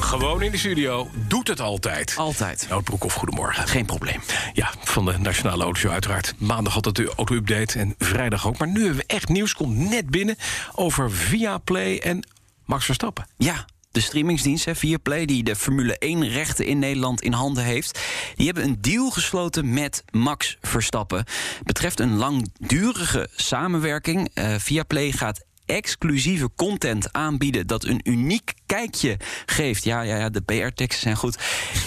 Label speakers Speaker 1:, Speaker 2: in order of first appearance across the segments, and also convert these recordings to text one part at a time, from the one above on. Speaker 1: Gewoon in de studio, doet het altijd.
Speaker 2: Altijd.
Speaker 1: Nout Broekhoff, goedemorgen.
Speaker 2: Geen probleem.
Speaker 1: Ja, van de Nationale Autoshow uiteraard. Maandag had het de auto-update en vrijdag ook. Maar nu hebben we echt nieuws, komt net binnen... over Viaplay en Max Verstappen.
Speaker 2: Ja, de streamingsdienst, hè, Viaplay, die de Formule 1-rechten in Nederland in handen heeft... die hebben een deal gesloten met Max Verstappen. Het betreft een langdurige samenwerking. Eh Viaplay gaat exclusieve content aanbieden dat een uniek kijkje geeft. Ja, ja, ja de PR-teksten zijn goed.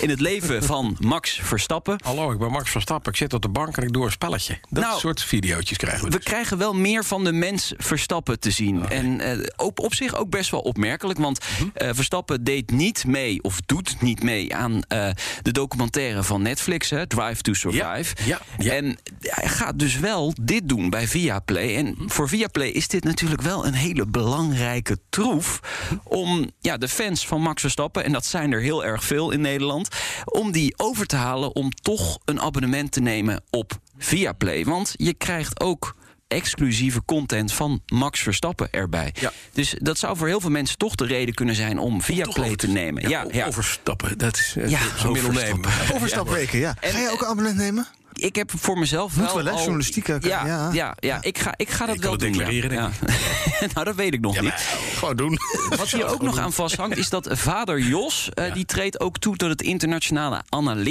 Speaker 2: In het leven van Max Verstappen.
Speaker 1: Hallo, ik ben Max Verstappen. Ik zit op de bank en ik doe een spelletje. Dat
Speaker 2: Nou,
Speaker 1: soort videootjes krijgen we.
Speaker 2: We
Speaker 1: dus.
Speaker 2: krijgen wel meer van de mens Verstappen te zien.
Speaker 1: Oh,
Speaker 2: En eh, op, op zich ook best wel opmerkelijk. Want
Speaker 1: Mhm.
Speaker 2: eh, Verstappen deed niet mee, of doet niet mee aan eh, de documentaire van Netflix, hè, Drive to Survive.
Speaker 1: ja, ja.
Speaker 2: En hij gaat dus wel dit doen bij Viaplay. En voor Viaplay is dit natuurlijk wel een hele belangrijke troef. Om ja, de fans van Max Verstappen, en dat zijn er heel erg veel in Nederland, om die over te halen om toch een abonnement te nemen op Viaplay. Want je krijgt ook exclusieve content van Max Verstappen erbij.
Speaker 1: Ja.
Speaker 2: Dus dat zou voor heel veel mensen toch de reden kunnen zijn om Viaplay te nemen. Ja, ja.
Speaker 1: Overstappen, dat is eh,
Speaker 2: Ja,
Speaker 1: zo'n middelneem.
Speaker 3: Overstapweken, ja. eh,
Speaker 2: En-
Speaker 3: Ga jij ook een abonnement nemen?
Speaker 2: Ik heb voor mezelf
Speaker 3: Moet
Speaker 2: wel
Speaker 3: wel, hè?
Speaker 2: al-
Speaker 3: Journalistiek
Speaker 2: Ja,
Speaker 3: ook, hè?
Speaker 2: ja, ja,
Speaker 3: Ja.
Speaker 2: Ik ga, ik ga
Speaker 1: Je
Speaker 2: dat
Speaker 1: kan
Speaker 2: wel
Speaker 1: het
Speaker 2: doen.
Speaker 1: declareren,
Speaker 2: ja.
Speaker 1: denk
Speaker 2: Ja. nou, dat weet ik nog
Speaker 1: Ja,
Speaker 2: niet.
Speaker 1: maar, gewoon doen.
Speaker 2: Wat hier ook nog aan vasthangt, is dat vader Jos... eh, die treedt ook toe tot het internationale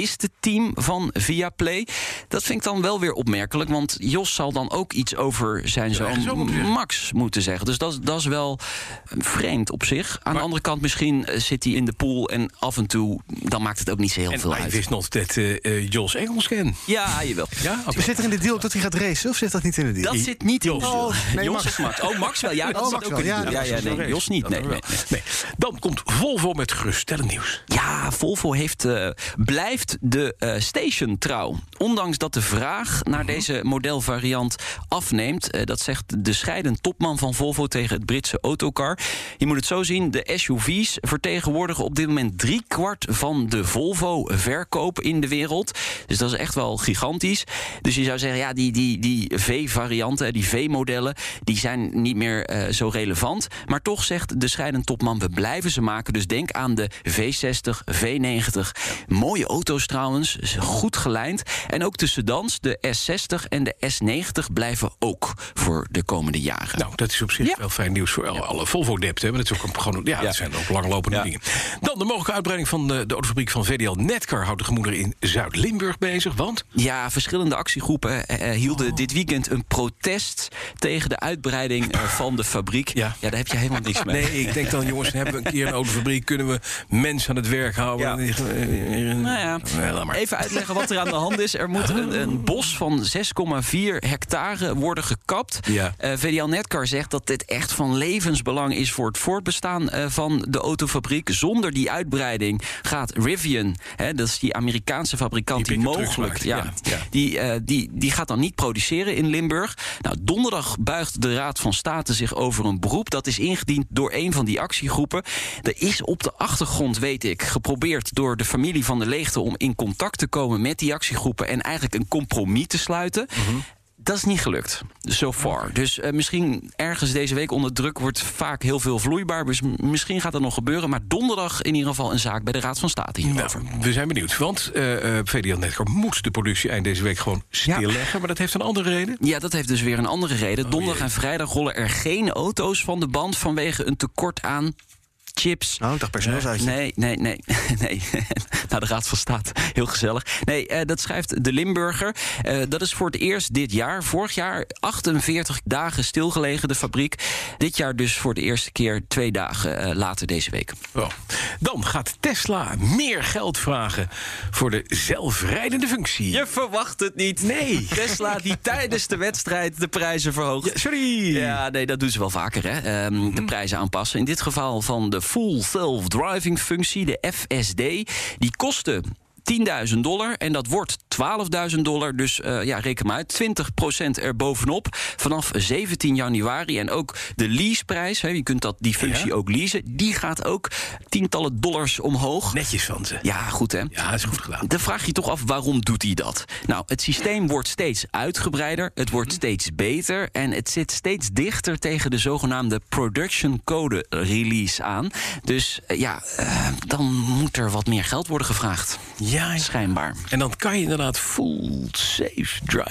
Speaker 2: analistenteam van Viaplay. Dat vind ik dan wel weer opmerkelijk, want Jos zal dan ook iets over zijn
Speaker 1: eigen zoon
Speaker 2: zoon
Speaker 1: moeten zeggen.
Speaker 2: Max moeten zeggen. Dus dat, dat is wel vreemd op zich. Aan de andere kant, misschien eh, zit hij in de pool... en af en toe, dan maakt het ook niet zo heel
Speaker 1: En
Speaker 2: veel
Speaker 1: I
Speaker 2: uit.
Speaker 1: wist nog dat eh, eh, Jos Engels ken.
Speaker 2: Ja, jawel.
Speaker 1: Ja, oké.
Speaker 3: Zit er in de deal ook dat hij gaat racen of zit dat niet in de deal?
Speaker 2: Dat zit niet in de deal.
Speaker 3: Oh, nee,
Speaker 2: Jos
Speaker 3: Max.
Speaker 2: is Max. Oh, Max wel. Ja, dat
Speaker 3: Oh,
Speaker 2: zit
Speaker 3: Max
Speaker 2: ook
Speaker 3: wel.
Speaker 2: in de
Speaker 3: Ja,
Speaker 2: deal.
Speaker 3: dat
Speaker 2: Ja,
Speaker 3: was
Speaker 2: ja,
Speaker 3: een
Speaker 2: nee, Jos niet. Nee, nee, nee.
Speaker 1: nee. Dan komt Volvo met geruststellend nieuws.
Speaker 2: Ja, Volvo heeft, eh, blijft de eh, station trouw. Ondanks dat de vraag naar
Speaker 3: Mhm.
Speaker 2: deze modelvariant afneemt. eh, dat zegt de scheidend topman van Volvo tegen het Britse autocar. Je moet het zo zien, de SUV's vertegenwoordigen op dit moment driekwart van de Volvo-verkoop in de wereld. Dus dat is echt wel gigantisch. Dus je zou zeggen, ja, die, die, die V-varianten, die V-modellen, die zijn niet meer eh, zo relevant. Maar toch zegt de scheidend topman, we blijven ze maken. Dus denk aan de V60, V90. Mooie auto's trouwens, ze goed gelijnd. En ook de sedans, de S60 en de S90 blijven ook voor de komende jaren.
Speaker 1: Nou, dat is op zich
Speaker 2: Ja.
Speaker 1: wel fijn nieuws voor alle- alle Volvo-depten. hè, want Dat, is ook een- gewoon, ja, dat zijn ook langlopende dingen. Dan de mogelijke uitbreiding van eh, de, de autofabriek van VDL Netcar... houdt de gemoederen in Zuid-Limburg bezig, want...
Speaker 2: Ja, verschillende actiegroepen eh, eh, hielden
Speaker 1: Oh.
Speaker 2: dit weekend een protest tegen de uitbreiding eh, van de fabriek.
Speaker 1: Ja.
Speaker 2: daar heb je helemaal niks mee.
Speaker 1: Nee, ik denk dan, jongens, dan hebben we een keer een autofabriek... kunnen we mensen aan het werk houden.
Speaker 2: Ja.
Speaker 1: En- eh, eh,
Speaker 2: Nou ja,
Speaker 1: nee, laat maar.
Speaker 2: even uitleggen wat er aan de hand is. Er moet een, een bos van 6,4 hectare worden gekapt.
Speaker 1: Ja.
Speaker 2: Eh, VDL Netcar zegt dat dit echt van levensbelang is voor het voortbestaan eh, van de autofabriek. Zonder die uitbreiding gaat Rivian, hè, dat is die Amerikaanse fabrikant
Speaker 1: Die
Speaker 2: die,
Speaker 1: pick-up trucks
Speaker 2: mogelijk, ja,
Speaker 1: maakt, ja, ja.
Speaker 2: Die, eh, die, die gaat dan niet produceren in Limburg. Nou, donderdag buigt de Raad van State zich over een beroep. Dat is ingediend door een van die actiegroepen. Er is op de achtergrond, weet ik, geprobeerd door de familie van de leegte om in contact te komen met die actiegroepen en eigenlijk een compromis te sluiten. Dat is niet gelukt, so far. Dus eh, misschien ergens deze week onder druk wordt vaak heel veel vloeibaar. Dus m- misschien gaat dat nog gebeuren. Maar donderdag in ieder geval een zaak bij de Raad van State hierover.
Speaker 1: Nou, we zijn benieuwd, want eh, eh, VDL Netcar moet de productie eind deze week gewoon stilleggen. Maar dat heeft een andere reden.
Speaker 2: Ja, dat heeft dus weer een andere reden. Donderdag en vrijdag rollen er geen auto's van de band vanwege een tekort aan chips.
Speaker 3: Nou, ik dacht personeelsuitje.
Speaker 2: Nee, nee, nee. nee. nou, de Raad van State. Heel gezellig. Nee, eh, dat schrijft de Limburger. Eh, dat is voor het eerst dit jaar. Vorig jaar 48 dagen stilgelegen, de fabriek. Dit jaar dus voor de eerste keer twee dagen eh, later deze week.
Speaker 1: Oh. Dan gaat Tesla meer geld vragen voor de zelfrijdende functie.
Speaker 2: Je verwacht het niet. Nee. Tesla die tijdens de wedstrijd de prijzen verhoogt.
Speaker 1: Sorry.
Speaker 2: Ja, nee, dat doen ze wel vaker, hè? Ehm, de prijzen aanpassen. In dit geval van de Full Self Driving functie, de FSD. Die kostte 10.000 dollar en dat wordt 12.000 dollar. Dus eh, ja, reken maar uit. 20% erbovenop vanaf 17 januari. En ook de leaseprijs, hè, je kunt dat, die functie ook leasen, die gaat ook tientallen dollars omhoog.
Speaker 1: Netjes van ze.
Speaker 2: Ja, goed hè.
Speaker 1: Ja, is goed gedaan.
Speaker 2: Dan vraag je toch af waarom doet hij dat? Nou, het systeem wordt steeds uitgebreider, het
Speaker 1: Mhm.
Speaker 2: wordt steeds beter en het zit steeds dichter tegen de zogenaamde production code release aan. Dus eh, ja, eh, dan moet er wat meer geld worden gevraagd.
Speaker 1: Ja, ja.
Speaker 2: Schijnbaar.
Speaker 1: En dan kan je inderdaad full safe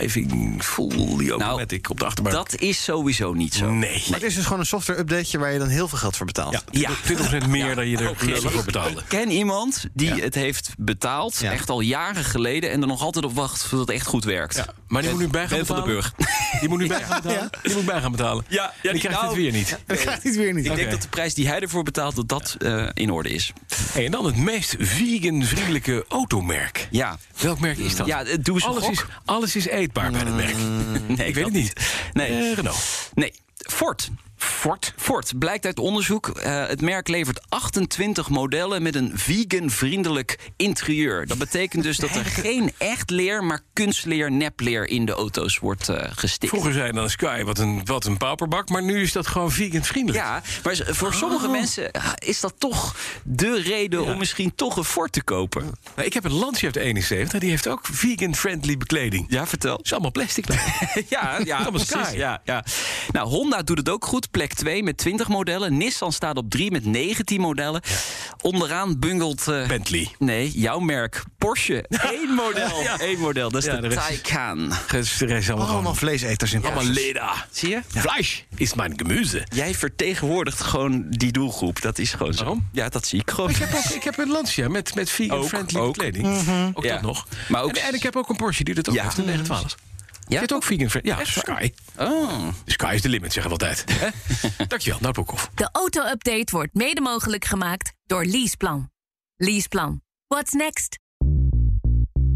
Speaker 1: driving, full automatic op de achterbank.
Speaker 2: Nou, Dat is sowieso niet zo.
Speaker 1: nee.
Speaker 3: Maar het is dus gewoon een software-updateje waar je dan heel veel geld voor betaalt.
Speaker 1: Ja,
Speaker 2: Ja.
Speaker 1: 20% meer dan je er lullig voor betaalde.
Speaker 2: Ik ken iemand die het heeft betaald,
Speaker 3: Ja.
Speaker 2: echt al jaren geleden, en er nog altijd op wacht voordat het echt goed werkt.
Speaker 1: Ja, maar die moet nu bij gaan
Speaker 2: Ben van den
Speaker 1: betalen. Die moet nu bij gaan betalen. Die moet bij gaan betalen.
Speaker 2: Ja, ja,
Speaker 1: die
Speaker 2: die-
Speaker 1: krijgt het
Speaker 2: nou-
Speaker 1: weer niet.
Speaker 3: Dat krijgt hij het weer niet.
Speaker 2: Ik
Speaker 1: Oké.
Speaker 2: denk dat de prijs die hij ervoor betaalt, dat dat eh, in orde is.
Speaker 1: Hey, en dan het meest vegan-vriendelijke automerk.
Speaker 2: Ja.
Speaker 1: Welk merk is dat?
Speaker 2: Ja, eh, doe eens een
Speaker 1: alles,
Speaker 2: gok. Mm.
Speaker 1: is, alles is eetbaar bij Mhm. dat merk.
Speaker 2: Nee,
Speaker 1: ik weet
Speaker 2: dat
Speaker 1: het niet.
Speaker 2: Nee.
Speaker 1: Eh, Renault.
Speaker 2: Nee, Ford. Ford? Ford. Blijkt uit onderzoek. Eh, het merk levert 28 modellen met een vegan-vriendelijk interieur. Dat betekent dus dat er geen echt leer, maar kunstleer, nepleer in de auto's wordt eh, gestikt.
Speaker 1: Vroeger zei je dan Sky, wat een, wat een pauperbak. Maar nu is dat gewoon vegan-vriendelijk.
Speaker 2: Ja, maar z- voor sommige
Speaker 1: Oh.
Speaker 2: mensen ah, is dat toch de reden om misschien toch een Ford te kopen.
Speaker 1: Nou, ik heb een Lancia uit 71. Die heeft ook vegan-friendly bekleding.
Speaker 2: Ja, vertel.
Speaker 1: Het is allemaal plastic.
Speaker 2: ja, ja,
Speaker 1: Thomas
Speaker 2: precies.
Speaker 1: Kraai.
Speaker 2: Ja, ja. Nou, Honda doet het ook goed. Plek 2 met 20 modellen. Nissan staat op 3 met 19 modellen. Onderaan bungelt... eh,
Speaker 1: Bentley.
Speaker 2: Nee, jouw merk. Porsche. Eén model.
Speaker 1: Ja.
Speaker 2: Één model. Dat is
Speaker 1: Ja, de
Speaker 2: de
Speaker 1: rest-
Speaker 2: Taycan.
Speaker 1: Het is de rest allemaal,
Speaker 3: Allemaal
Speaker 1: gewoon-
Speaker 3: vleeseters in
Speaker 1: allemaal
Speaker 3: Porsche.
Speaker 1: leda.
Speaker 2: Zie je?
Speaker 1: Fleisch is mijn gemüse.
Speaker 2: Jij vertegenwoordigt gewoon die doelgroep. Dat is gewoon zo.
Speaker 1: Waarom? Oh,
Speaker 2: Ja, dat zie ik gewoon.
Speaker 1: Ik heb, ook, ik heb een Lancia met, met vegan-friendly
Speaker 2: Ook, ook.
Speaker 1: kleding. Ook
Speaker 2: Ja.
Speaker 1: dat nog.
Speaker 2: Maar ook-
Speaker 1: en, en ik heb ook een Porsche die dat ook
Speaker 2: Ja.
Speaker 1: heeft, een 912.
Speaker 2: Ja?
Speaker 1: Ja? Zit ook vegan-friendly. Ja,
Speaker 2: Echt waar?
Speaker 1: Sky.
Speaker 2: Oh.
Speaker 1: Sky is de limit, zeggen we altijd. Hè? Dankjewel, Nout Broekhoff.
Speaker 4: De auto-update wordt mede mogelijk gemaakt door Leaseplan. Leaseplan. What's next?